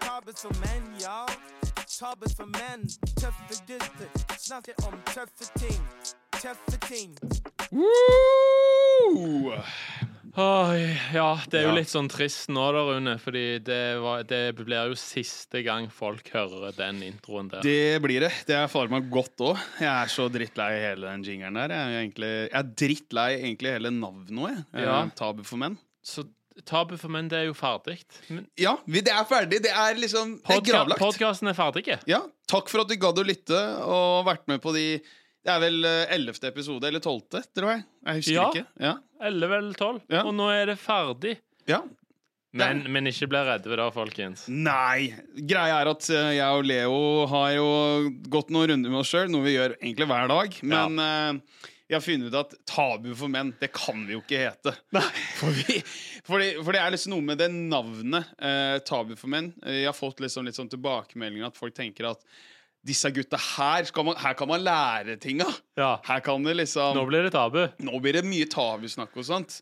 gentlemen, y'all. Tabbes for menn, tøffe gutter. Snakker om tøffe ting, tøffe ting. Woo! Oi, ja, det er jo Ja. litt sånn trist nå da, Rune, fordi det, var, det blir jo siste gang folk hører den introen der. Det blir det. Det er fader meg godt òg. Jeg er så drittlei hele den jingeren der. Jeg er, egentlig, jeg er drittlei egentlig hele navnet òg, jeg. Eh, Ja. Tabu for menn. Så Tabu for menn, det er jo ferdig. Ja, vi, det er ferdig. Det er liksom det er gravlagt. Podkasten er ferdig. Ja, takk for at du gadd å lytte og vært med på de Det er vel eh, ellevte episode, eller tolvte, tror jeg. Jeg husker Ja. ikke. Ja. 11 eller 12. Ja. Og nå er det ferdig. ja. Men, men ikke bli redde da, folkens. Nei! Greia er at eh, jeg og Leo har jo gått noen runder med oss sjøl, noe vi gjør egentlig hver dag. Men eh, vi har funnet ut at tabu for menn, det kan vi jo ikke hete. For, vi, for, det, for det er liksom noe med det navnet eh, tabu for menn. Eh, Jeg har fått liksom litt sånn tilbakemeldinger at folk tenker at disse gutta her, skal man, her kan man lære tinga. Ja, Her kan det liksom Nå blir det tabu. nå blir det mye tabusnakk og sånt.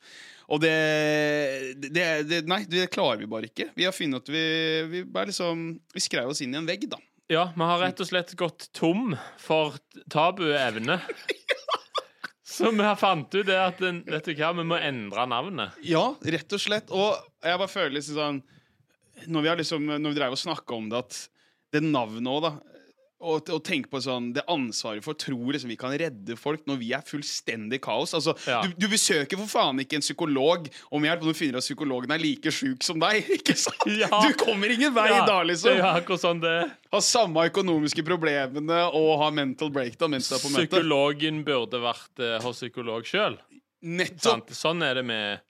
Og det, det, det Nei, det klarer vi bare ikke. Vi har funnet at vi, vi bare liksom Vi skrev oss inn i en vegg, da. Ja, vi har rett og slett gått tom for tabuevne. Så vi har fant ut det at en- vet du hva, vi må endre navnet. Ja, rett og slett. Og jeg bare føler liksom sånn Når vi, har liksom, når vi drev og snakka om det, at det navnet òg, da og, og tenke på sånn, det ansvaret for tror liksom vi kan redde folk når vi er fullstendig kaos. Altså, Ja. du, du besøker for faen ikke en psykolog om hjelp når du finner at psykologen er like sjuk som deg. ikke sant? Ja. Du kommer ingen vei Ja, da, Det er liksom. jo akkurat sånn det er. Har samme økonomiske problemene og har mental breakdown mens du er på møte. Psykologen burde vært eh, hos psykolog sjøl. Nettopp! Sånn er det med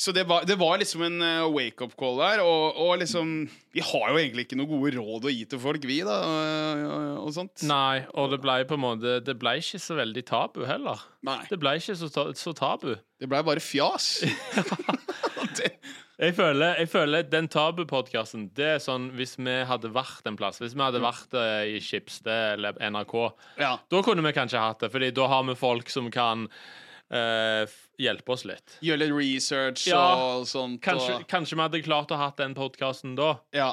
Så det var, det var liksom en eh, wake-up call der, og, og liksom Vi har jo egentlig ikke noen gode råd å gi til folk, vi, da, eh, og sånt. Nei, og det ble på en måte Det ble ikke så veldig tabu heller. Nei. Det ble ikke så, ta- så tabu. Det blei bare fjas. det, Jeg føler, jeg føler den tabupodkasten Det er sånn hvis vi hadde vært en plass Hvis vi hadde vært eh, i Skipsted eller NRK, ja. da kunne vi kanskje hatt det, Fordi da har vi folk som kan eh, f- hjelpe oss litt. Gjøre litt research Ja, og sånt. Kanskje, Og, kanskje vi hadde klart å hatt den podkasten da. ja.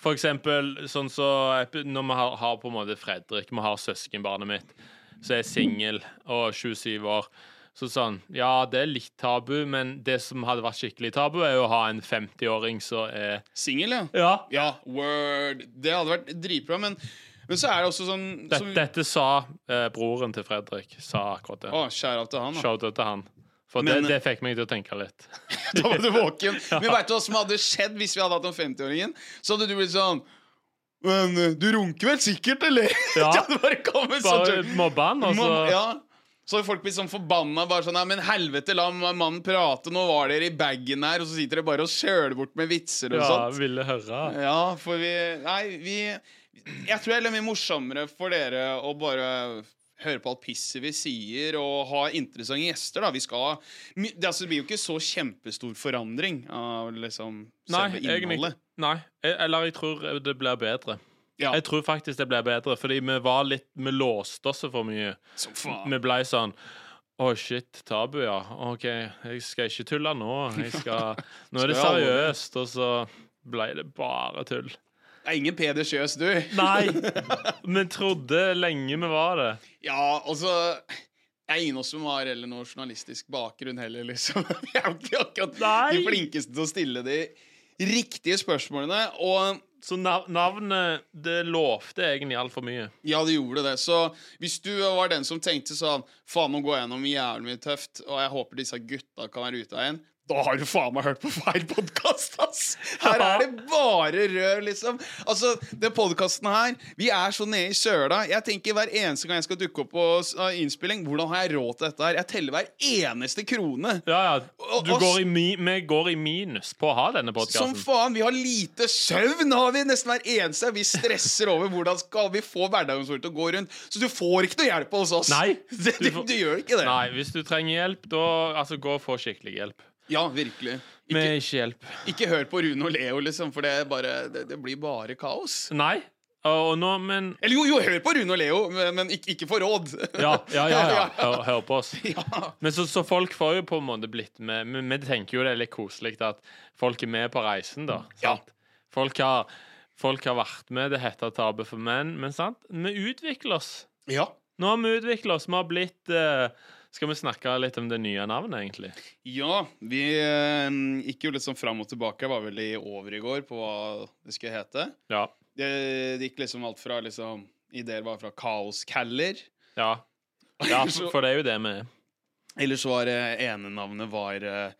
For eksempel sånn så epi- Når vi har, har på en måte Fredrik Vi har søskenbarnet mitt Som er singel og 27 år Så sånn, ja det er litt tabu Men det som hadde vært skikkelig tabu Er jo å ha en 50-åring som er Singel, ja. Ja Ja, word. Det hadde vært dritbra, men, men så er det også sånn Dette, som- dette sa eh, broren til Fredrik Sa akkurat det Å, skjære av til han, da. Shout out til han For Men- det, det fikk meg til å tenke litt Da var du våken. Men vet du hva som hadde skjedd hvis vi hadde hatt den 50-åringen? Så hadde du blitt sånn Men eh, du runker vel sikkert, eller? Ja. Det hadde bare kommet sånn Bare altså. mobbe han og så Man- Ja. Så hadde folk blitt sånn forbanna. Bare sånn, Nei, men helvete, la mannen prate. Nå var dere i bagen her, og så sitter dere bare og søler bort med vitser og ja, sånt. ville høre Ja, for vi Nei, vi Jeg tror det er litt mye morsommere for dere å bare høre på alt pisset vi sier, og ha interessante gjester, da. Vi skal ha my- det, altså, det blir jo ikke så kjempestor forandring av liksom Nei, selve egentlig innholdet. Nei, jeg- eller jeg tror det blir bedre Ja, Jeg tror faktisk det ble bedre, fordi vi var litt Vi låste oss for mye. som faen. Vi blei sånn Å, shit. Tabu, ja. OK, jeg skal ikke tulle nå. Jeg skal Nå er det Skal jeg seriøst. Og så blei det bare tull. Det er ingen Peder Kjøs, du. Nei! Vi trodde lenge vi var det. Ja, altså Det er ingen av oss som har heller noe journalistisk bakgrunn heller, liksom. Vi er jo ikke akkurat de Nei. flinkeste til å stille de riktige spørsmålene. Og Så nav navnet Det lovte egentlig altfor mye. ja, det gjorde det. Så hvis du var den som tenkte sånn Faen, nå går jeg gjennom jævlig mye tøft, og jeg håper disse gutta kan være ute av igjen. Da har du faen meg hørt på feil podkast, ass! Her er det bare rør, liksom. Altså, den podkasten her Vi er så nede i søla. Jeg tenker hver eneste gang jeg skal dukke opp på s- av innspilling, hvordan har jeg råd til dette her? Jeg teller hver eneste krone. Ja, ja. Og- Du og- går i mi vi går i minus på å ha denne Som podkasten. faen, vi har lite søvn, har vi nesten hver eneste. Vi stresser over hvordan skal vi få hverdagen vår til å gå rundt. Så du får ikke noe hjelp hos oss. Nei, det, du du, får- du gjør ikke det. Nei, hvis du trenger hjelp, da altså, gå og få skikkelig hjelp. Ja, virkelig. Vi Ikke, er ikke hjelp. ikke hør på Rune og Leo, liksom, for det, er bare, det, det blir bare kaos. Nei. Og nå, men Eller jo, jo, hør på Rune og Leo, men, men ikke, ikke for råd. Ja, ja, ja. ja. Hør, hør på oss. Ja. Men så, så folk får jo på en måte blitt med Men vi tenker jo det er litt koselig at folk er med på reisen, da. Ja. Sant? Folk har Folk har vært med. Det heter tabu for menn. Men sant, vi utvikler oss. Ja. Nå har vi utvikla oss. Vi har blitt eh, Skal vi snakke litt om det nye navnet, egentlig? Ja, vi eh, gikk jo litt sånn fram og tilbake. Jeg var veldig over i går på hva det skulle hete. Ja. Det, det gikk liksom alt fra liksom Ideer var fra kaoscaller. Ja, ja for, for det er jo det vi er. Eller så var det ene navnet var eh,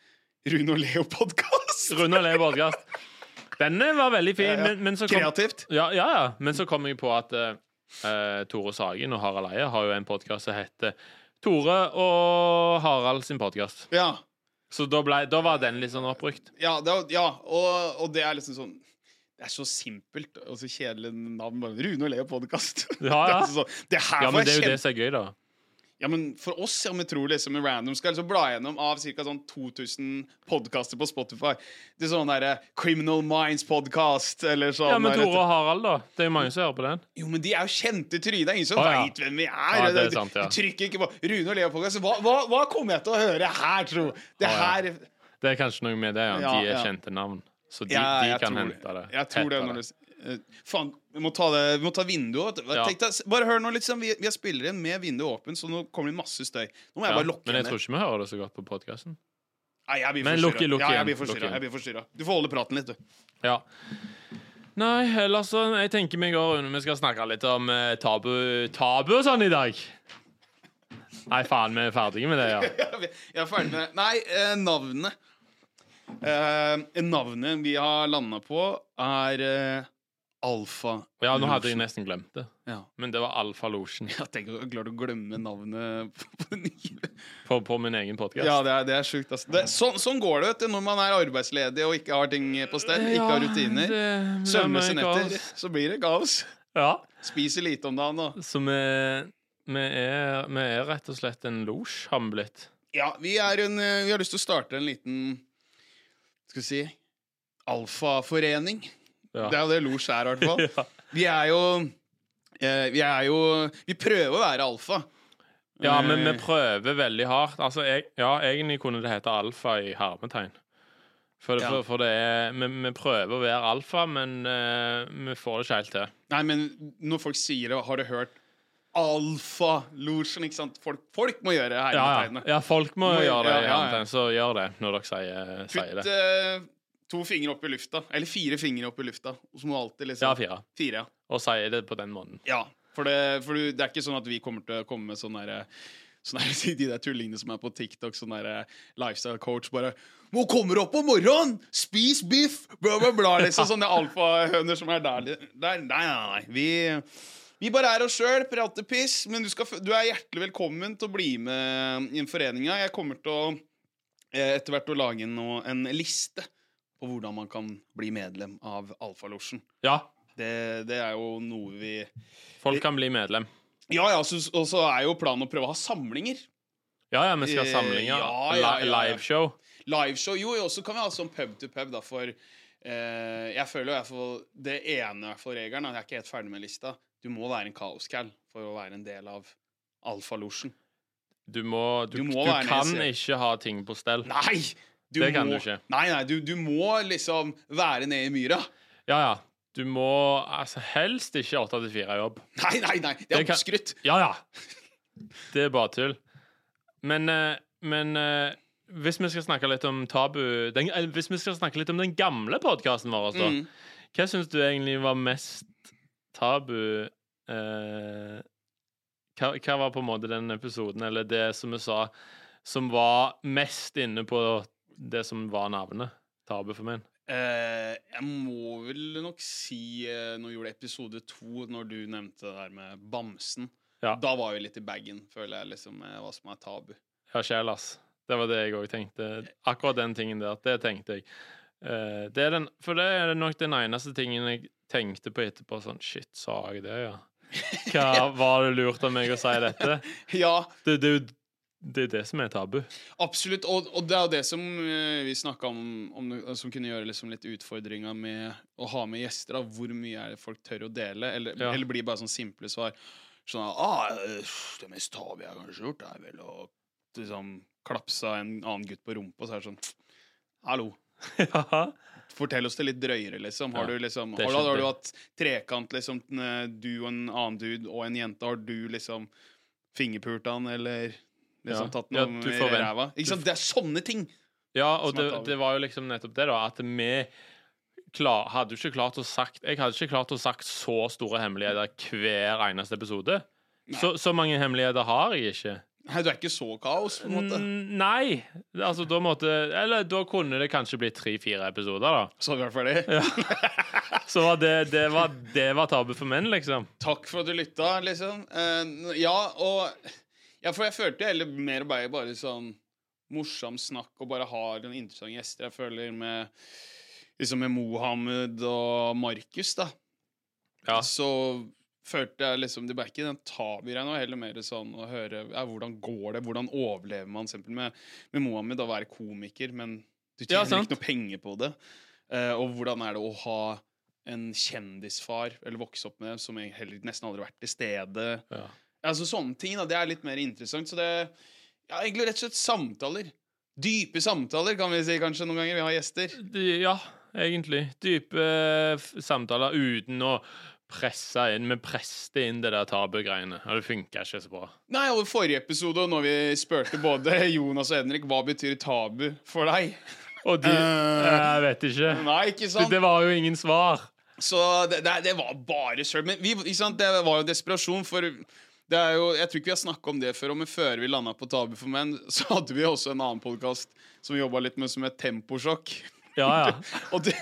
Rune og Leo-podkast. Rune og Leo Borgast. Denne var veldig fin, Ja, ja. Men, men så kom Kreativt. Ja, ja, ja. Men så kom jeg på at eh, eh, Tore Sagen og Harald Eie har jo en podkast som heter Tore og Harald sin podkast. Ja. Så da, ble, da var den litt sånn oppbrukt. Ja, det, er- ja og, og det er liksom sånn Det er så simpelt og så kjedelig navn. Bare Rune og Leo podkast. Ja, det, ja. er altså sånn, det her Ja, får men det er jeg jo kjempe... det som er gøy, da. Ja, men for oss, ja, vi tror liksom en random skal liksom bla gjennom av ca. Sånn 2000 podkaster på Spotify til sånn derre Criminal Minds-podkast eller sånn. Ja, men der- Tore og Harald, da. Det er jo mange som hører på den. Jo, men de er jo kjente tryner. Det er Ingen som Å, ja. veit hvem vi er. Ja, det er Du- sant, ja. Du trykker ikke på Rune og Leo podkast. Hva, hva, hva kommer jeg til å høre her, tro? Det Å, her Det er kanskje noe med det, ja. Ja, De er ja. kjente navn. Så de, Ja, de jeg kan tror hente det. Jeg tror det Hette når du eh, Faen, vi må ta, det, vi må ta vinduet. vet du. Ja. Tenk deg, s- bare hør nå litt sånn, vi, vi spiller inn med vinduet åpent, så nå kommer det masse støy. Nå må jeg Ja, bare lukke men jeg ned. tror ikke vi hører det så godt på podkasten. Nei, jeg blir Men forstyrret. lukk i- lukk ja, igjen, jeg blir lukk forstyrret, igjen. jeg blir forstyrret. Du får holde praten litt, du. Ja. Nei, ellers så Jeg tenker vi går under. Vi skal snakke litt om eh, tabu, tabu og sånn i dag. Nei, faen, vi er ferdige med det, ja. Jeg er ferdig med det. Nei, eh, navnet. Eh, navnet vi har landa på, er eh, Alfa. Ja, nå hadde jeg nesten glemt det. Ja. Men det var Alfalosjen Jeg tenker, jeg klarer å glemme navnet på den nye på, på min egen podkast. Ja, det er, det er sjukt. ass. Det, sånn, sånn går det vet du, når man er arbeidsledig og ikke har ting på stell. Ikke har rutiner. Søvnløse netter. Så blir det kaos. Ja. Spiser lite om dagen. Og. Så vi, vi, er, vi er rett og slett en losj, har vi blitt. Ja, vi, er en, eh, vi har lyst til å starte en liten Skal vi si alfaforening. Ja. Det er jo det Losj er, i hvert fall. Ja. Vi er jo eh, Vi er jo Vi prøver å være alfa. ja, men Eh. vi prøver veldig hardt. Altså, jeg, ja, egentlig kunne det hete alfa i hermetegn. For, det- Ja. for, for det er vi, vi prøver å være alfa, men eh, vi får det ikke helt til. Nei, men når folk sier det, har du hørt alfa-losjen, ikke sant? Folk, folk må gjøre Ja, hermetegnene. ja. ja folk må, Må- gjøre det ja, ja, i ja. hermetegn, så gjør det når dere sier, sier Putt det. eh, to fingre opp i lufta, eller fire fingre opp i lufta. Og så må du alltid liksom Ja, fire. Fire, ja. Og sier det på den måten. ja. For, det, for du- det er ikke sånn at vi kommer til å komme med sånn derre sånn der, De der tullingene som er på TikTok, sånn derre lifestyle coach bare Nå kommer du opp om morgenen! Spis biff! Bla, bla, bla. Liksom sånne alfahøner som er der. der nei, nei, nei. Vi, vi bare er oss sjøl, prater piss, men du, skal, f- du er hjertelig velkommen til å bli med i foreninga. Jeg kommer til å eh, etter hvert å lage noe, en liste på hvordan man kan bli medlem av Alfalosjen. Ja, Det, det er jo noe vi folk kan bli medlem. Ja, ja, så- og så er jo planen å prøve å ha samlinger. Ja, ja, vi skal ha Eh, samlinger. ja, ja, li- ja, ja. Liveshow. Liveshow. Jo, jo, så kan vi ha sånn pub to pub, da, for eh, jeg føler jo jeg får det ene for regelen. da, Jeg er ikke helt ferdig med lista. Du må være en kaoscal for å være en del av Alfalosjen. Du, må, du, Du du, må være kan nese. ikke ha ting på stell. Nei! Du Det kan må, du ikke. Nei, nei, du, du må liksom være nede i myra. Ja, ja. Du må altså, helst ikke 8 til 4-jobb. Nei, nei, nei! Det er Det kan- oppskrytt. Ja, ja. Det er bare tull. Men, eh, men eh, hvis vi skal snakke litt om tabu den, eller Hvis vi skal snakke litt om den gamle podkasten vår, altså, Mm. hva syns du egentlig var mest tabu eh, hva, hva var på en måte den episoden, eller det som vi sa, som var mest inne på det som var navnet? Tabu for min. Eh, jeg må vel nok si eh, Når vi gjorde episode to, når du nevnte det der med bamsen Ja. Da var vi litt i bagen, føler jeg, liksom, eh, hva som er tabu. Ja, sjel, ass. Det var det jeg òg tenkte. Akkurat den tingen der. Det tenkte jeg. Eh, det er den, for det er nok den eneste tingen jeg tenkte på etterpå. Sånn, shit, sa jeg det, ja? Hva Var det lurt av meg å si dette? Ja, Det, det, er jo- det er det som er tabu. absolutt. Og, og det er jo det som eh, vi snakka om, om, det- som kunne gjøre liksom litt utfordringa med å ha med gjester. Da. Hvor mye er det folk tør å dele? Eller, Ja. eller blir det bare sånn simple svar. Sånn ah, eh, Det mest tabu jeg har kanskje gjort, er vel å liksom, klapse en annen gutt på rumpa, og så er det sånn Hallo. Ja. Fortell oss det litt drøyere, liksom. Har Ja, du liksom det har, du- har du skjønte hatt trekant, liksom, n- eh, du og en annen dude og en jente? Har du liksom fingerpult han, eller liksom Ja. tatt Ja, noe i du får vent- ræva? du Ikke sant? Det er sånne ting! Ja, og Som er det, tabu. det var jo liksom nettopp det, da. At vi klar, hadde jo ikke klart å sagt Jeg hadde ikke klart å sagt så store hemmeligheter hver eneste episode. Så, så mange hemmeligheter har jeg ikke. Nei, du er ikke så kaos, på en måte. Mm, Nei. Altså, da måtte Eller da kunne det kanskje blitt tre-fire episoder, da. Så er vi i hvert fall det. Så var det, det, var, det var tabu for menn, liksom. Takk for at du lytta, liksom. Eh, ja, og Ja, for jeg følte heller mer bare, bare sånn morsom snakk og bare har noen interessante gjester. Jeg føler med Liksom med Mohammed og Markus, da. Ja. Så følte jeg liksom Det ble ikke den tabugreia nå, heller mer sånn å høre ja, Hvordan går det? Hvordan overlever man eksempel med, med Mohammed å være komiker, men du Ja, tjener sant. ikke noe penger på det? Eh, og hvordan er det å ha en kjendisfar, eller vokse opp med, som jeg heller nesten aldri har vært til stede? Ja. Altså Sånne ting da, det er litt mer interessant. Så det ja, egentlig rett og slett samtaler. Dype samtaler, kan vi si kanskje noen ganger. Vi har gjester. De, ja, egentlig. Dype eh, f- samtaler uten å presse inn. Vi presste inn det der tabugreiene, og det funka ikke så bra. Nei, og forrige episode, når vi spurte både Jonas og Henrik hva betyr tabu for deg. Og de Eh. Jeg vet ikke. Nei, ikke Det, sant? det var jo ingen svar. Så det, det, det var bare søl. Men vi, ikke sant? det var jo desperasjon, for det er jo, jeg tror ikke vi har snakka om det før. Og men før vi landa på Tabu for menn, så hadde vi også en annen podkast som vi jobba litt med, som het Temposjokk. Ja, ja. Og, det,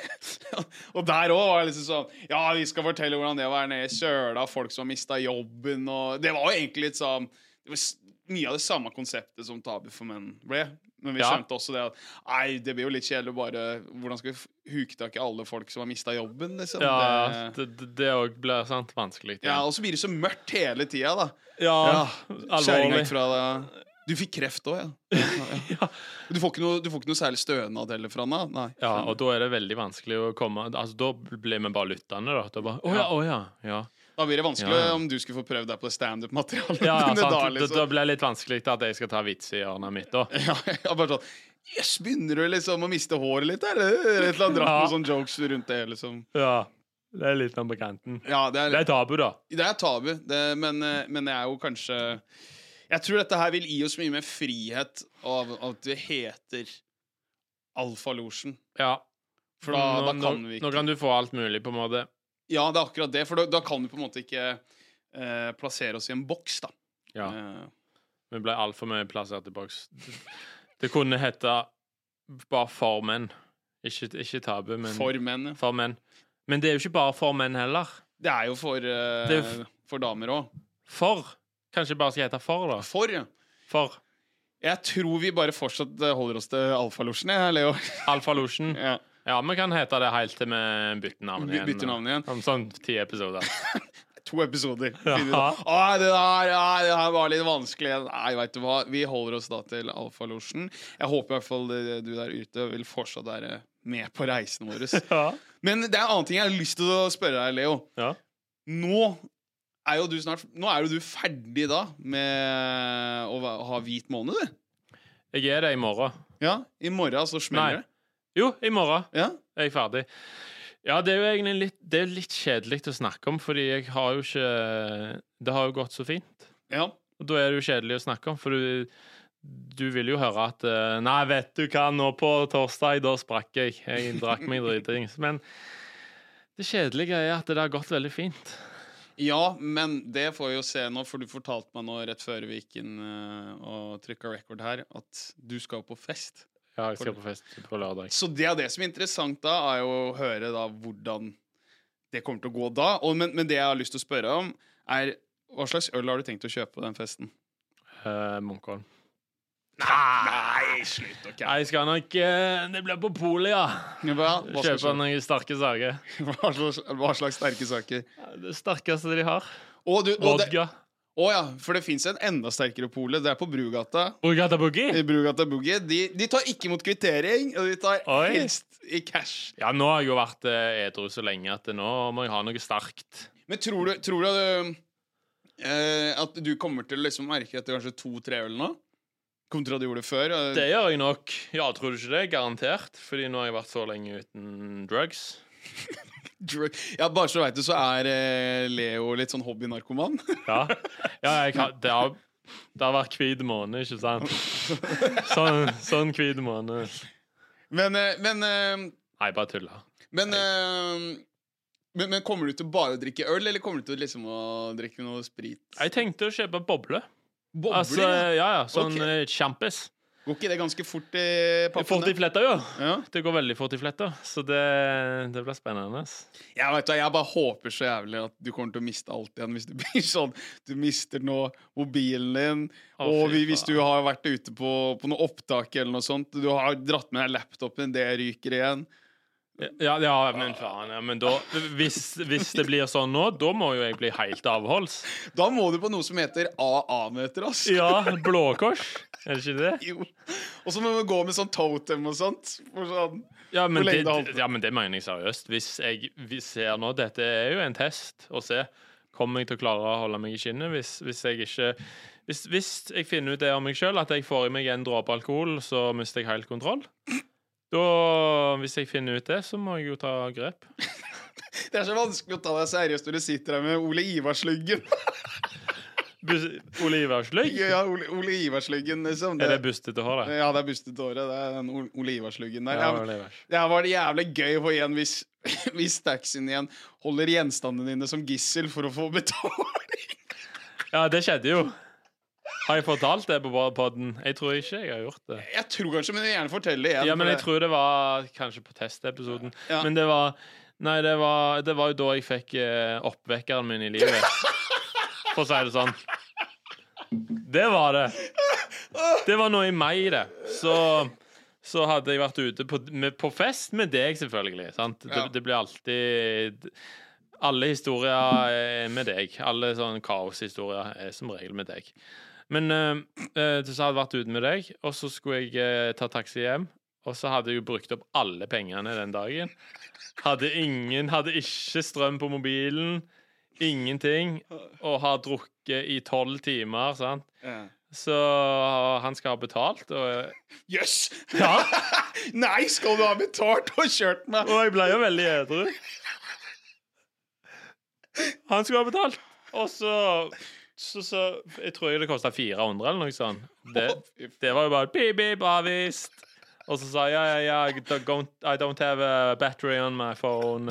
og der òg var det liksom sånn Ja, vi skal fortelle hvordan det var nede i søla, folk som har mista jobben og Det var jo egentlig litt sånn det var s- Mye av det samme konseptet som Tabu for menn ble. Men vi Ja. skjønte også det at Nei, det blir jo litt kjedelig å bare Hvordan skal vi f- huke tak i alle folk som har mista jobben, liksom? ja det, det det- det òg blir sant vanskelig. ja, og så blir det så mørkt hele tida, da. ja, Kjerringa alvorlig. gikk fra deg. Du fikk kreft òg, ja. Ja. Du får, ikke noe, du får ikke noe særlig stønad heller fra henne? Nei. Ja, og da er det veldig vanskelig å komme Altså, Da blir vi bare lyttende, da. da bare, å ja, å ja, ja. Da blir det vanskelig Ja, ja. om du skulle få prøvd deg på standup-materialet. ja, ja dine sant. da, Da, liksom. da blir det litt sånn. vanskelig at jeg skal ta vits i hjørnet mitt, da. Ja, ja, bare sånn Jøss, begynner du liksom å miste håret litt, eller? Et eller annet dratt noen Ja. sånne jokes rundt det, liksom. Ja, Det er litt sånn på kanten. Ja, det er, Det er tabu, da. det er tabu, det, men, eh, men det er jo kanskje Jeg tror dette her vil gi oss mye mer frihet av at det heter Alfalosjen. Ja. For da, nå, da kan nå, vi nå ikke kan du få alt mulig, på en måte. Ja, det er akkurat det, for da, da kan vi på en måte ikke eh, plassere oss i en boks, da. Ja. Eh, Vi ble altfor mye plassert i boks. Det kunne hete bare for menn. Ikke, ikke tabu, men for. for menn. ja. menn. Men det er jo ikke bare for menn heller. Det er jo for, eh, Det er jo for damer òg. For. Kanskje det bare skal hete for, da. For, ja. For Jeg tror vi bare fortsatt eh, holder oss til alfalosjen, jeg, Leo. Alfalosjen. Ja. Ja, vi kan hete det helt til vi bytter navn By- igjen. bytter navn igjen. Om sånn ti episoder. To episoder. Ja. Finner vi da. Å, det, der, ja, det her var litt vanskelig. Nei, vet du hva. Vi holder oss da til Alfalosjen. Jeg håper i hvert fall eh, du der ute vil fortsatt være med på reisen vår. Ja. Men det er en annen ting jeg har lyst til å spørre deg, Leo. Ja. Nå er jo du snart Nå er jo du ferdig da med å væ- ha hvit måned, du. Jeg er det i morgen. Ja, I morgen så Nei. smeller det. Jo, i morgen Ja. er jeg ferdig. Ja, det er jo egentlig litt, det er litt kjedelig å snakke om, fordi jeg har jo ikke Det har jo gått så fint. ja. Og da er det jo kjedelig å snakke om, for du, du vil jo høre at eh, Nei, vet du hva, nå på torsdag, da sprakk jeg. Jeg drakk meg dritings. Men det kjedelige er at det har gått veldig fint. Ja, men det får vi jo se nå, for du fortalte meg nå rett før vi gikk inn eh, og trykka record her, at du skal på fest. Ja, jeg skal på fest på lørdag. Så det er det som er interessant da, er jo å høre da hvordan det kommer til å gå da. Og, men, men det jeg har lyst til å spørre om, er hva slags øl har du tenkt å kjøpe på den festen? Eh, Munkholm. Nei, slutt å Nei, jeg skal nok eh, Det blir på polet, ja. Hva, hva, Kjøpe slags, noen sterke saker. hva, slags, hva slags sterke saker? Det sterkeste de har. Å, du, å, det, Vodka. å ja, for det fins en enda sterkere pole. Det er på Brugata. Borgata Boogie. I Brugata Boogie. De, de tar ikke imot kvittering, og de tar Oi. helst i cash. Ja, nå har jeg jo vært eh, edru så lenge at nå må jeg ha noe sterkt. Men tror du, tror du at, øhm, eh, at du kommer til å liksom merke etter kanskje to-tre øl nå? Kontra du gjorde det før. eh, Det gjør jeg nok. Ja, tror du ikke det? Garantert. Fordi nå har jeg vært så lenge uten drugs. drug- Ja, bare så du veit det, så er eh, Leo litt sånn hobbynarkoman. Ja, ja jeg kan, det, har, det har vært hvit måned, ikke sant? Sånn, sånn hvit måned. Men, eh, men, eh, Nei, bare tulla. men, eh, men Men kommer du til bare å drikke øl, eller kommer du til liksom å drikke noe sprit? Jeg tenkte å kjøpe boble. Bobler? Altså, ja, ja, sånn Ok. okay. kjampis. Går ikke det ganske fort i pappen? Fort i det? fletta, jo. Ja. Det går veldig fort i fletta, så det, det blir spennende. ass. Jeg, vet, hva, jeg bare håper så jævlig at du kommer til å miste alt igjen hvis du blir sånn. Du mister nå mobilen din, Å, og fy vi- hvis faen. du har vært ute på, på noe opptak eller noe sånt, du har dratt med deg laptopen, det ryker igjen. Ja, ja, men faen. Ja, men da, hvis, hvis det blir sånn nå, da må jo jeg bli helt avholds. Da må du på noe som heter AA-møter, ass. Ja, Blå Kors. Er det ikke det? Jo. Og så må du gå med sånn totem og sånt. For sånn. Ja men, lenge det, det holdt. ja, men det mener jeg seriøst. Hvis jeg vi ser nå Dette er jo en test å se. Kommer jeg til å klare å holde meg i skinnet hvis, hvis jeg ikke hvis, hvis jeg finner ut det om meg sjøl, at jeg får i meg en dråpe alkohol, så mister jeg helt kontroll? Da, hvis jeg finner ut det, så må jeg jo ta grep. Det er så vanskelig å ta deg seriøst når du sitter her med Ole Ivarsluggen. Bus- Ole Ivarsløy? ja, Ole, Ole Ivarsluggen, liksom. Er det bustete hår, det? ja, det er bustete håret. Det er den Ole- Ole Ivarsluggen der. Ja, Ja, men- Ole Ivars. Det her var det jævlig gøy å få igjen hvis, hvis taxien igjen holder gjenstandene dine som gissel for å få betaling. ja, det skjedde jo. Har jeg fortalt det på podden? Jeg tror ikke jeg har gjort det. Jeg tror kanskje, men jeg vil gjerne fortelle igjen. Ja, men for jeg det- tror det var kanskje på testepisoden. Ja. Men det var Nei, det var, det var jo da jeg fikk eh, oppvekkeren min i livet. For å si det sånn. Det var det. Det var nå i mai, det. Så, så hadde jeg vært ute på, med, på fest med deg, selvfølgelig. Sant? Det, Ja. det blir alltid Alle historier er med deg. Alle sånne kaoshistorier er som regel med deg. Men eh, eh, så hadde jeg vært ute med deg, og så skulle jeg eh, ta taxi hjem. Og så hadde jeg jo brukt opp alle pengene den dagen. Hadde ingen, hadde ikke strøm på mobilen. Ingenting. Og har drukket i tolv timer, sant. Ja. Så han skal ha betalt, og Jøss! Ja. Nei, skal du ha betalt og kjørt meg? Og jeg ble jo veldig edru. Han skulle ha betalt. Og så, så, så Jeg tror jeg det kosta 400 eller noe sånt. Det, det var jo bare pip, pip, avvist. Og så sa jeg ja, ja, ja, I don't, I don't have a battery on my phone.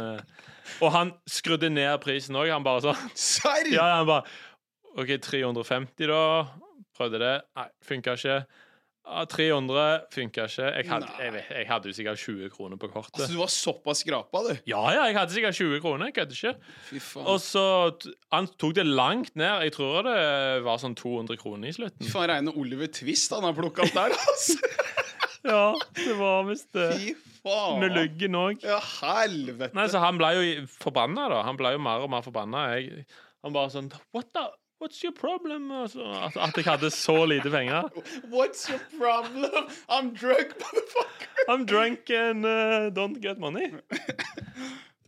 Og han skrudde ned prisen òg. Han bare sånn Serr! ja, han bare OK, 350, da. Prøvde det. Nei, funka ikke. Ja, 300 funka ikke. Jeg hadde, jeg, vet- jeg hadde jo sikkert 20 kroner på kortet. Altså, du var såpass skrapa, du. Ja, ja, jeg hadde sikkert 20 kroner. Jeg kødder ikke. Fy faen. Og så t- Han tok det langt ned. Jeg tror det var sånn 200 kroner i Fy slutten. faen, regne Oliver Twist han har plukka opp der, altså. Ja, det var visst det. Fy faen. Med luggen òg. Ja, helvete. Nei, så han ble jo i- forbanna, da. Han ble jo mer og mer forbanna. Jeg- Han bare sånn What the What's your problem? Og så- At at jeg hadde så lite penger. What's your problem? I'm drunk, motherfucker. I'm drunk and uh, don't get money.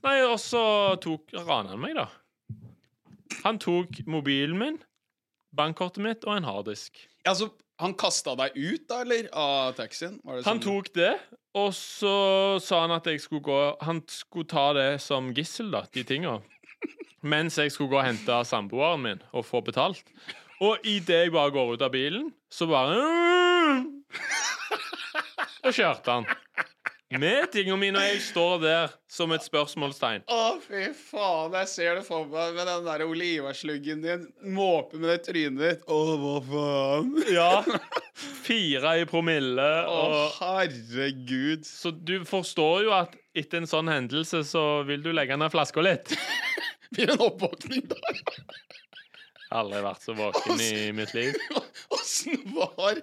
Nei, og så tok rana han meg, da. Han tok mobilen min, bankkortet mitt og en harddisk. Altså, han kasta deg ut, da, eller? Av taxien? Var det Han sånn- tok det, og så sa han at jeg skulle gå Han skulle ta det som gissel, da, de tinga. Mens jeg skulle gå og hente samboeren min og få betalt. Og idet jeg bare går ut av bilen, så bare Og kjørte han. Med tinga mine, og jeg står der som et spørsmålstegn. Å, fy faen, jeg ser det for meg med den der Ole Ivar-sluggen din. Måpe med det trynet ditt. Å, hva faen? Ja. Fire i promille Å, og herregud. Så du forstår jo at etter en sånn hendelse så vil du legge ned flaska litt. Blir det en oppvåkning der? Aldri vært så våken i mitt liv. Åssen var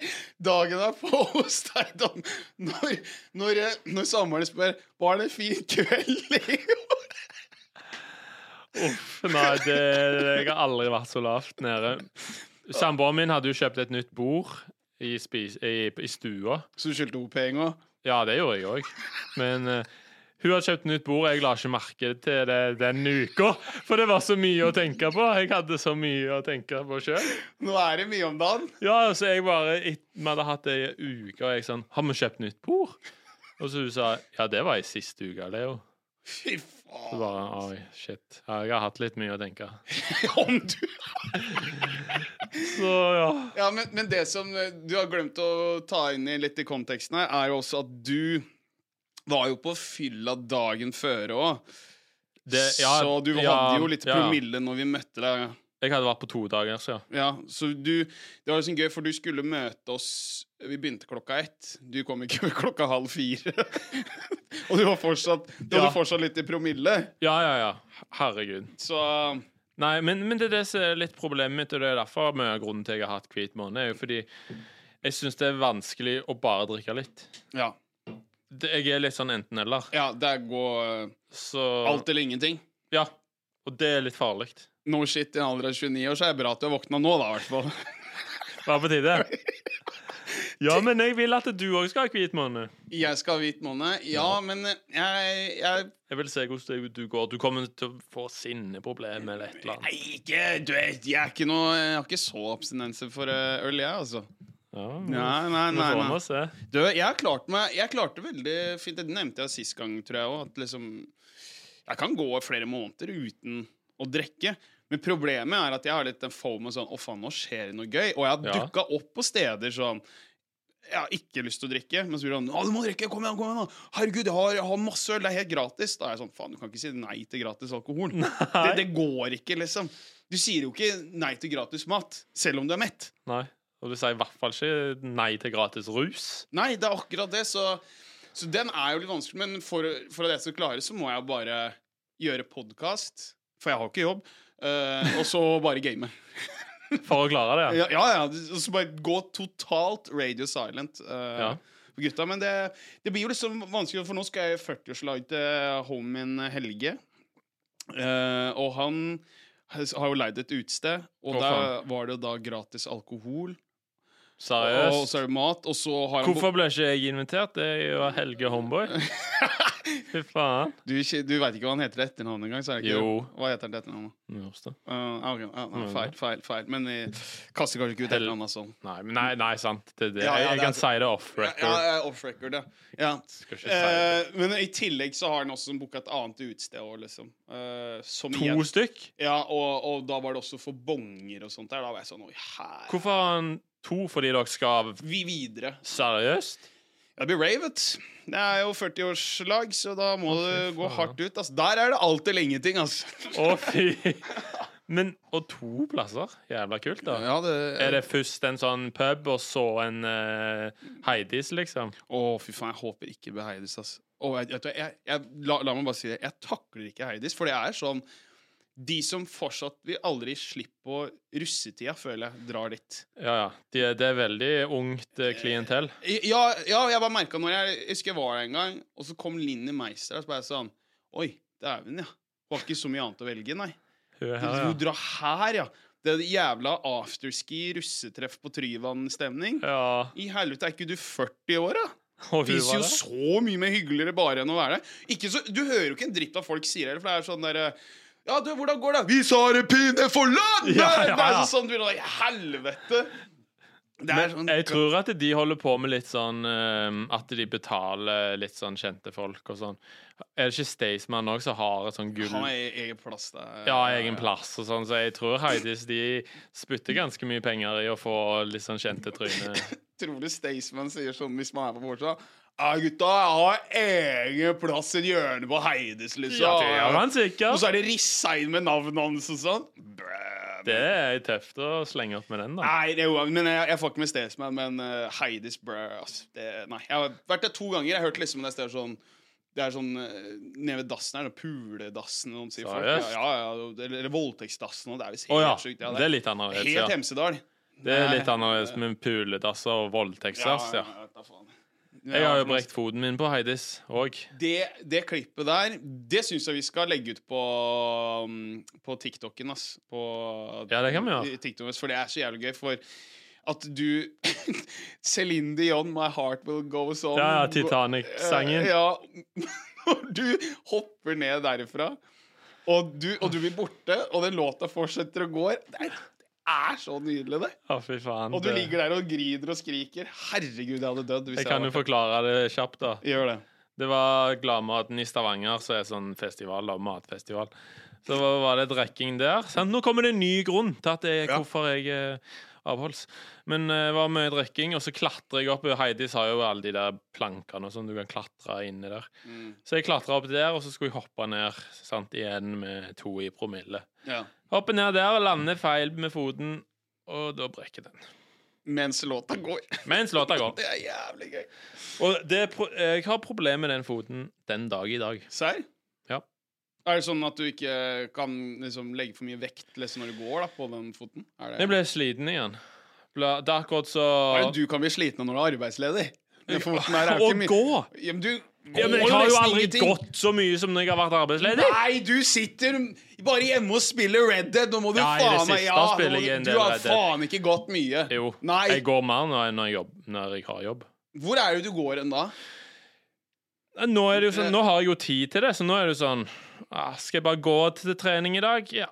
dagen der på hos deg, da? Når, når, eh, når samboeren spør 'Var det en fin kveld', Leo? Uff, nei, det, jeg har aldri vært så lavt nede. Samboeren min hadde jo kjøpt et nytt bord i, spis, i, i stua. Så du skyldte henne penger? Ja, det gjorde jeg òg. Men eh, Hun har kjøpt nytt bord, jeg la ikke merke til det den uka. For det var så mye å tenke på. Jeg hadde så mye å tenke på sjøl. Nå er det mye om dagen. Ja, så jeg bare et- Vi hadde hatt det i en uke, og jeg sånn Har vi kjøpt nytt bord? Og så hun sa Ja, det var i siste uke, Leo. Fy Så faen. bare Oi, shit. Ja, jeg har hatt litt mye å tenke. Om du Så ja. Ja, men, men det som eh, du har glemt å ta inn i litt i konteksten her, er jo også at du var jo på fylla dagen før òg. Det, ja så du hadde ja, jo litt ja, ja. promille når vi møtte deg. Jeg hadde vært på to dager, så ja. Ja, så du Det var jo sånn gøy, for du skulle møte oss Vi begynte klokka ett. Du kom ikke før klokka halv fire. Og du var fortsatt Du hadde Ja. fortsatt litt i promille. Ja, ja, ja. Herregud. Så Nei, men, men det er det som er litt problemet mitt, og det er derfor mye av grunnen til jeg har hatt hvit måned, er jo fordi jeg syns det er vanskelig å bare drikke litt. ja. Det, jeg er litt sånn enten-eller. Ja, der går eh, Så alt eller ingenting. Ja. Og det er litt farlig. No shit, i en alder av 29 år, så er det bra at du har våkna nå, da, i hvert fall. Bare på tide. Ja, men jeg vil at du òg skal ha hvit måned. Jeg skal ha hvit måned. Ja, men eh, jeg, jeg Jeg vil se hvordan det- du går. Du kommer til å få sinneproblemer eller et eller annet. Nei, ikke Du vet, jeg er ikke noe Jeg har ikke så abstinenser for eh, øl, jeg, altså. Ja, Nei, nei, vi nei. får nei. med se. Du, jeg har klart meg Jeg klarte veldig fint. Det nevnte jeg sist gang, tror jeg òg, at liksom Jeg kan gå flere måneder uten å drikke. Men problemet er at jeg har litt den fomen sånn Å, faen, nå skjer det noe gøy. Og jeg har Ja. dukka opp på steder sånn jeg har ikke lyst til å drikke, men så blir han du må drikke, kom igjen, kom igjen, da. Herregud, jeg har, jeg har masse øl, det er helt gratis. Da er jeg sånn, faen, du kan ikke si nei til gratis alkohol. Det, det går ikke, liksom. Du sier jo ikke nei til gratis mat, selv om du er mett. Nei. Og du sier i hvert fall ikke nei til gratis rus. Nei, det er akkurat det. Så, så den er jo litt vanskelig. Men for, for at jeg skal klare, så må jeg bare gjøre podkast. For jeg har ikke jobb. eh, og så bare game. For å klare det. Ja, ja. ja og så bare gå totalt radio silent. eh, Ja. For gutta, Men det, det blir jo liksom vanskelig, for nå skal jeg i 40-årslag til homien Helge. Eh, og han har jo leid et utested, og Å, der var det jo da gratis alkohol. Og Seriøst. så er det mat, og så har han Ah, Hvorfor ble ikke jeg invitert? Det er jo Helge Homeboy. Fy faen. Du, ikke- du veit ikke hva han heter til etternavn engang? så er det ikke- Jo. Hva heter han til etternavn? da? Uh, ah, ok, ah, nei, Mm. feil, feil, feil. Men vi kaster kanskje ikke ut Hell- etternavnet sånn. Nei, men nei, nei, sant. Det, er det. Ja, ja, Jeg, jeg det er- kan si det off Ja, ja, record. ja, off record, ja. ja. Skal ikke si det. Eh, men i tillegg så har han også booka et annet utested òg, liksom. Eh, som To igjen. stykk? Ja, og, og da var det også for bonger og sånt der. Da var jeg sånn Oi, her Hvorfor har han to fordi dere skal Vi videre. Seriøst? Det blir rave, vet du. Det er jo 40-årslag, så da må Å, fy det gå faen. hardt ut. Altså. Der er det alt eller ingenting, altså. Å, fy. Men Og to plasser? Jævla kult, da. Ja, det, Er det først en sånn pub, og så en eh, Heidis, liksom? Å, fy faen, jeg håper ikke det blir Heidis, ass. Å, jeg, vet du hva, jeg, jeg, la, la meg bare si det. Jeg takler ikke Heidis, for det er sånn De som fortsatt vil aldri slippe på russetida, føler jeg, drar dit. Ja, ja. De, det er veldig ungt eh, klientell. I- Ja, ja jeg bare merka når jeg, jeg husker jeg var der en gang, og så kom Linni Meister der, så ble jeg sånn Oi, dæven, ja. Var ikke så mye annet å velge, nei. Hun Du er her, ja. dra her, ja. Det jævla afterski, russetreff på Tryvann-stemning. ja. I helvete, er ikke du 40 år, da? Og Det hun fins var jo der. så mye mer hyggeligere bare enn å være det. Ikke så, du hører jo ikke en dritt av folk sier det, for det er sånn derre Ja, du, hvordan går det? Vi sa det pinne for landet! Ja, ja, Det er ja. sånn, sånn du vil ha Helvete! Det er Men sånn jeg tror at de holder på med litt sånn eh, At de betaler litt sånn kjente folk og sånn. Er det ikke Staysman òg som har et sånn gull Han har e- egen plass der. Ja, egen plass og sånn, så jeg tror Heidis de spytter ganske mye penger i å få litt sånn kjente tryner. Tror du Staysman sier sånn hvis man er på Forsa? Ja, gutta, jeg har egen plass i et hjørne på Heides, liksom. Ja, det gjør han og sikkert. så er det rissa inn med navnet hans og sånn. Brø, Det er tøft å slenge opp med den, da. Nei, det er jo, men jeg, jeg får ikke med Staysman, men eh, Heidis Brø ass, det, Nei, jeg har vært der to ganger. Jeg har hørt liksom det stedet sånn Det er sånn eh, nede ved dassen her, den puledassen de sier folk. Ja, Seriøst? ja, ja, eller, eller voldtektsdassen, og det er visst Å helt ja. sjukt. Ja, Det er litt annerledes, helt ja. Hemsedal. Det er litt annerledes med puledasser og voldtektsdass, ja. vet da faen. Jeg har jo brekt foten min på Heidis òg. det, det klippet der, det syns jeg vi skal legge ut på, um, på TikToken, ass. På Ja, det kan vi gjøre. TikTok, ass, for det er så jævlig gøy. For at du Celine Dion, 'My Heart Will Go On'. Ja, ja, Titanic-sangen. Eh, Ja. Og du hopper ned derifra, og du, og du blir borte, og den låta fortsetter og går. Det er, det er så nydelig, det. Å, fy faen. Og du det- ligger der og griner og skriker. Herregud, jeg hadde dødd hvis jeg jeg, kan jo hadde vært forklare det kjapt, da. der. Gjør det. Det var Gladmaten i Stavanger, som er sånn festival, da, matfestival. Så var var det drikking der. Sant? Nå kommer det en ny grunn til at det er Ja. hvorfor jeg eh, avholds. Men eh, det var mye drikking, og så klatrer jeg opp. Heidis har jo alle de der plankene og sånn du kan klatre inni der. Så jeg klatra opp der, og så skulle jeg hoppe ned sant? igjen med to i promille. Ja. Hopper ned der og lander feil med foten, og da brekker den. Mens låta går. Mens låta går. Det er jævlig gøy. Og det, er pro- jeg har problemer med den foten den dag i dag. Serr? Ja. Er det sånn at du ikke kan liksom, legge for mye vekt liksom, når du går da, på den foten? Er det, Jeg ble sliten igjen. Ble, det er akkurat så er det du kan bli sliten av når du er arbeidsledig? Den foten her er jo Å ikke mye gå! ja, men du Ja, men går jeg har jo nesten aldri ingenting. gått så mye som når jeg har vært arbeidsledig. Nei, du sitter bare hjemme og spiller Red Dead. Nå må du Ja, i det faen meg siste ja, nå spiller må jeg en du, del du har Red Dead. faen ikke gått mye. Jo, Nei. jeg går mer nå enn når jeg, jobb, når jeg har jobb. Hvor er det du går hen da? Nå, er det jo Eh. sånn, nå har jeg jo tid til det, så nå er det jo sånn ah, Skal jeg bare gå til trening i dag? Ja.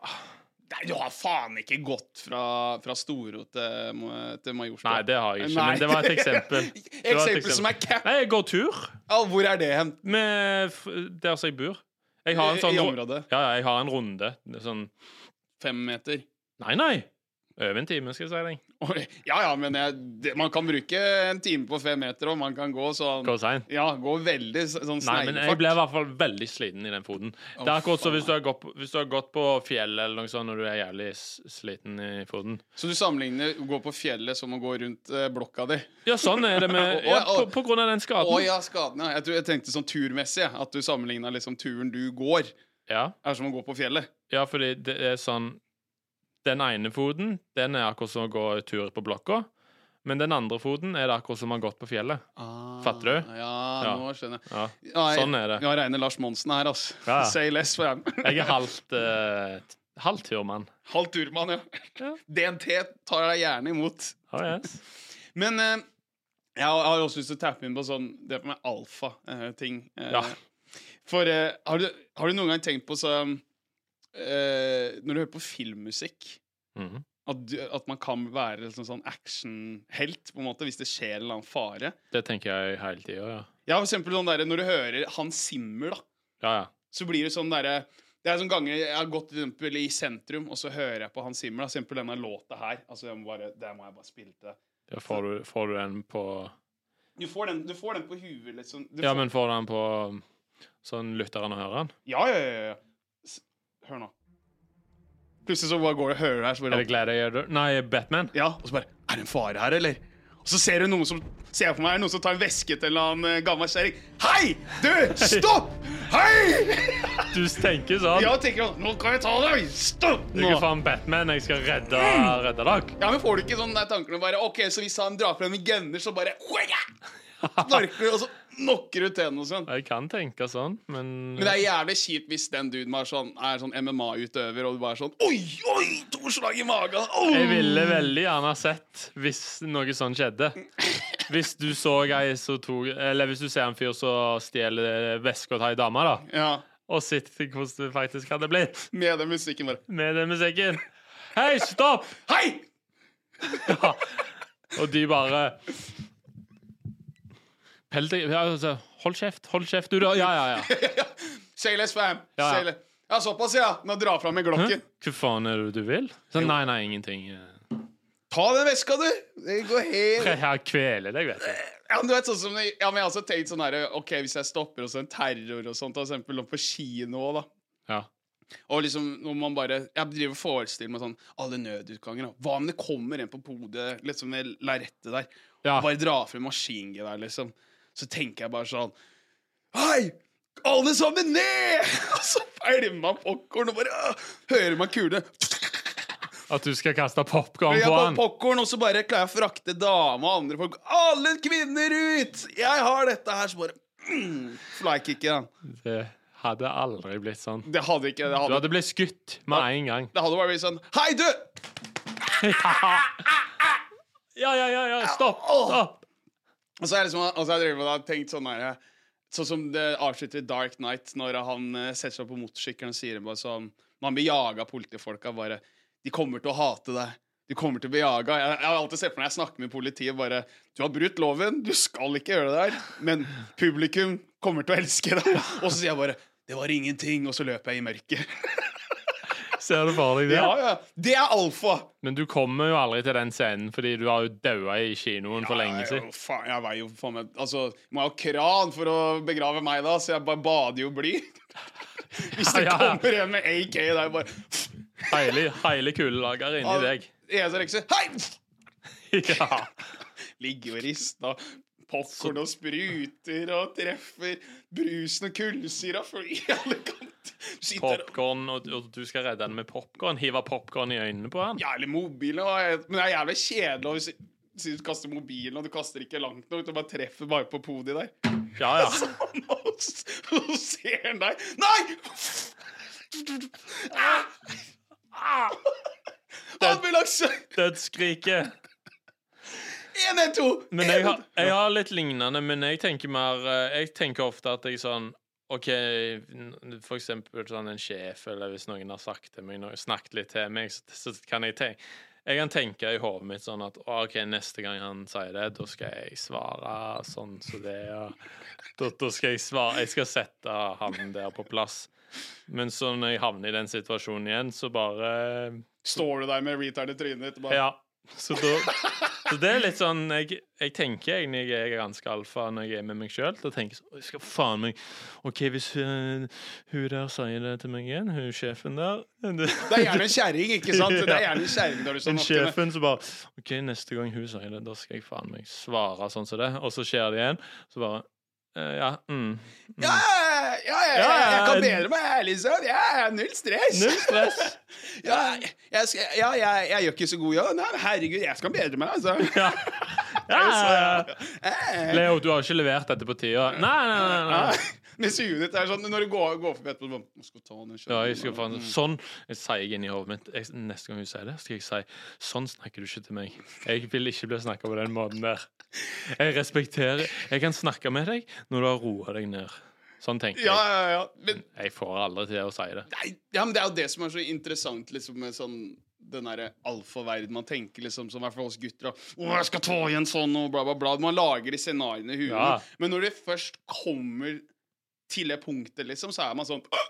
Nei, du har faen ikke gått fra, fra Storo til, Ma- til Majorstua. Nei, det har jeg ikke, Nei. men det var et eksempel. Det var et Eksempel som er cap. Nei, jeg går tur Ja, hvor er det hen? med f der som jeg bor. Jeg har en sånn I ru- området. Ja, ja, jeg har en runde. Det er Sånn Fem meter. Nei, nei! Over en time, skal jeg si deg. Oi, Ja, ja, men jeg, det, man kan bruke en time på fem meter, og man kan gå sånn Gå sein. Ja, gå veldig s- sånn Nei, men jeg sneglefart. ble i hvert fall veldig sliten i den foten. det er akkurat som hvis du har gått, hvis du har gått på fjellet eller noe sånt når du er jævlig s- sliten i foten. Så du sammenligner å gå på fjellet som å gå rundt eh, blokka di? Ja, sånn er det med ja, på, på grunn av den Å skaden. ja, skaden, ja. Jeg, tror, jeg tenkte sånn turmessig, ja, at du sammenligna liksom turen du går, ja. er som å gå på fjellet. Ja, fordi det er sånn Den ene foten, den er akkurat som å gå tur på blokka. Men den andre foten er det akkurat som å ha gått på fjellet. Fatter du? Ah, Ja, Ja. nå skjønner jeg. Ja. Nei, Sånn er det. Jeg regner Lars Monsen her, altså. Ja. Say less for ham. Jeg er halvt eh, t- halvt turmann. Halv turmann, ja. Ja. DNT tar deg gjerne imot. Oh, yes. Men eh, jeg har- jeg har også lyst til å tappe inn på sånn det med alfa-ting. Ja. Eh, For eh, har, du, har du noen gang tenkt på sånn eh, Når du hører på filmmusikk Mhm. at, du, at man kan være liksom sånn actionhelt, på en måte, hvis det skjer en eller annen fare. Det tenker jeg hele tida, ja. Ja, for eksempel sånn der, Når du hører Hans Zimmer, da, Ja, ja. så blir det sånn derre Det er sånn ganger jeg har gått for eksempel, i sentrum, og så hører jeg på Hans Zimmer. Da, for eksempel denne låta her. Altså, jeg må bare, det må jeg bare spille til. Da får du, får du den på Du får den, du får den på huet, liksom. Du Ja, får- men får du den på sånn lytteren og høreren? Ja, ja, ja, ja. S- Hør nå. Plutselig så bare går det hører du her, så Er bare det Gladiator? Nei, Batman. Ja, og så bare Er det en fare her, eller? Og så ser du noen som Ser jeg for meg er det noen som tar en veske til en eller annen eh, gammel kjerring. Hei! Du, stopp! Hei! Du tenker sånn. Ja, tenker han. Nå kan jeg ta deg! Stopp Du er nå! ikke faen Batman, jeg skal redde, redde dere. Ja, men får du ikke sånn der tankene bare OK, så hvis han drar frem en gunner, så bare «Oja!» Knarker du, og så knocker du tennene og sånn. Jeg kan tenke sånn, men, Men det er jævlig kjipt hvis den duden er sånn, er sånn MMA-utøver, og du bare er sånn Oi, oi! To slag i magen! Oh! Jeg ville veldig gjerne sett hvis noe sånt skjedde. Hvis du så ei som tok Eller hvis du ser en fyr som stjeler veska til ei dame, da, Ja, og sett hvordan det faktisk hadde blitt med den musikken bare med den musikken. Hei, stopp! Hei! Og de bare Pell deg ja, altså, Hold kjeft, hold kjeft, du, da. Ja, ja, ja. Say less fam. Ja, ja. Say le- ja, såpass, ja. Nå dra fram med Hæ? glokken. Hva faen er det du vil? Så, nei, nei, ingenting. Ta den veska, du! Det går helt Jeg har kveler deg, vet du. Ja, men du vet sånn som det- Ja, men jeg har også tenkt sånn her OK, hvis jeg stopper hos en terror og sånt, for eksempel nå på kino òg, da. Ja. Og liksom når man bare Jeg driver og forestiller meg sånn Alle nødutganger, da. Hva om det kommer en på podet liksom med lerretet der? Ja. Bare dra frem maskingevær, liksom. Så tenker jeg bare sånn Hei! Alle sammen ned! Og så pælmer popkorn og bare «Åh!» Hører man kule At du skal kaste popkorn Jeg på får han. popcorn, og så bare klarer jeg å frakte dame og andre folk. Alle kvinner ut! Jeg har dette her, så bare mm, Flykick igjen. Det hadde aldri blitt sånn. Det hadde ikke det Du hadde, hadde blitt skutt med en gang. det hadde bare blitt sånn Hei, du! Ja, ja, ja, ja, stopp, stopp! Og så har jeg liksom og så har jeg drevet med det, og tenkt sånn her Sånn som det avslutter i Dark Knight, når han eh, setter seg på motorsykkelen og sier bare sånn Man blir jaga av politifolka, bare De kommer til å hate deg. Du kommer til å bli jaga. Jeg, jeg har alltid sett for meg når jeg snakker med politiet, bare Du har brutt loven, du skal ikke gjøre det der, men publikum kommer til å elske deg. Og så sier jeg bare Det var ingenting, og så løper jeg i mørket. Ser du for deg det? Ja, ja. Det er alfa! Men du kommer jo aldri til den scenen, fordi du har jo daua i kinoen for lenge Jeg er siden. jo faen, jeg veier jo faen meg Altså, må jeg ha kran for å begrave meg da, så jeg bare bader jo bly. Hvis det Ja, ja. kommer en med AK der, jeg bare Hele, hele kulelager inni deg. Det eneste jeg rekker, hei! Ja. Ligger og rister. Popkorn og spruter og treffer. Brusen og kullsyra flyr i alle kanter. Sitter og Popkorn, og, og du skal redde han med popkorn? Hive popkorn i øynene på han? Jævlig mobilen, og jeg, men det er jævlig kjedelig å si- si du kaster mobilen, og du kaster ikke langt nok. Du bare treffer bare på podiet der. Ja, Ah, ja. Sånn, og så ser han deg Nei! Ah! Ah! Ambulanse! Dødsskriket. 112! Men jeg har, jeg har litt lignende, men jeg tenker mer eh, Jeg tenker ofte at jeg sånn OK, n- for eksempel sånn en sjef, eller hvis noen har sagt til meg, noe- snakket litt til meg, så, så kan jeg tenke Jeg kan tenke i hodet mitt sånn at «Å, OK, neste gang han sier det, da skal jeg svare sånn som det, og da, da skal jeg svare Jeg skal sette han der på plass. Men så når jeg havner i den situasjonen igjen, så bare Står du der med retard i trynet ditt? og Bare, ja. Så, da, så det er litt sånn Jeg, jeg tenker egentlig jeg er ganske alfa når jeg er med meg sjøl. Da tenker jeg sånn «Å, jeg skal faen meg OK, hvis hun, hun der sier det til meg igjen, hun sjefen der Det er gjerne en kjerring, ikke sant? Det er gjerne en kjerring når du Den sånn sjefen som bare OK, neste gang hun sier det, da skal jeg faen meg svare sånn som det. Og så skjer det igjen. Så bare eh, Ja. Mm. Ja, ja, ja, ja, ja, jeg kan bedre meg, jeg, liksom. Ja, ja, null stress. Null stress. Ja, jeg, skal, ja jeg, jeg gjør ikke så god jobb. Nei, men herregud, jeg skal bedre meg, altså. Ja. Ja. Eh. Leo, du har ikke levert dette på tida. Nei, nei, nei. nei. Mens huet ditt er sånn Når du går, går forbi etterpå, du bare «Nå skal jeg ta den Ja, jeg skal faen Sånn jeg sier jeg inni hodet mitt. Jeg, neste gang hun sier det, skal jeg si sånn snakker du ikke til meg. Jeg vil ikke bli snakka på den måten der. Jeg respekterer Jeg kan snakke med deg når du har roa deg ned. Sånn tenker Ja, jeg. ja, ja. Men, Jeg får aldri til å si det. nei, ja, men det er jo det som er så interessant liksom, med sånn den derre alfaverden man tenker, liksom, som er for oss gutter. Og, 'Å, jeg skal ta igjen sånn', og bla, bla, bla. Man lager de scenarioene i huet. Ja. Men når det først kommer til det punktet, liksom, så er man sånn «Åh!»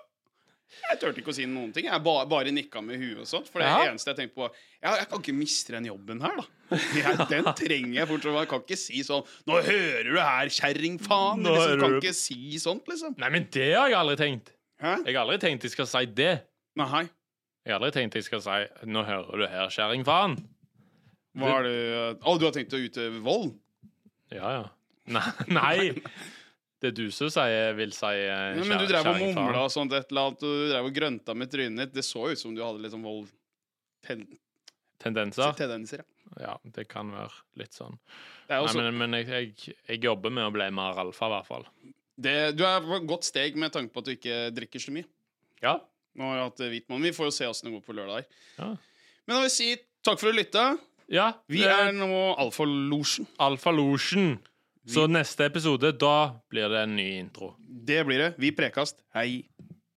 Jeg turte ikke å si noen ting. Jeg bare, bare nikka med huet og sånt. For det Ja. eneste jeg tenkte på, var jeg, jeg kan ikke miste den jobben her, da. Jeg, den trenger jeg fortsatt. Jeg kan ikke si sånn 'Nå hører du her, kjerring, faen!' Nå Liksom, hører jeg kan du- ikke si sånt, liksom. Nei, men det har jeg aldri tenkt. Hæ? Jeg har aldri tenkt jeg skal si det. Nei. Jeg har aldri tenkt jeg skal si 'Nå hører du her, kjerring, faen'. Hva er det Å, du har tenkt å utøve vold? Ja, ja. Nei. nei. Det er du som sier, vil si eh, Nei, men du kjer- drev og kjerring, faen. mumla og sånt et eller annet, og du drev og grønta med trynet ditt. Det så ut som du hadde litt sånn vold ten, Tendenser. tendenser. Ja. Ja, det kan være litt sånn. Det er jo Nei, så- men, men jeg, jeg, jeg jobber med å bli mer alfa, i hvert fall. det, du er på et godt steg med tanke på at du ikke drikker så mye. Ja. Nå har jeg hatt eh, hvitmann. Vi får jo se åssen det går på lørdag. Ja. Men da vil jeg si takk for å lytte. ja Vi er nå Alfalosjen. Alfalosjen. Så neste episode, da blir det en ny intro. Det blir det. Vi prekast. Hei.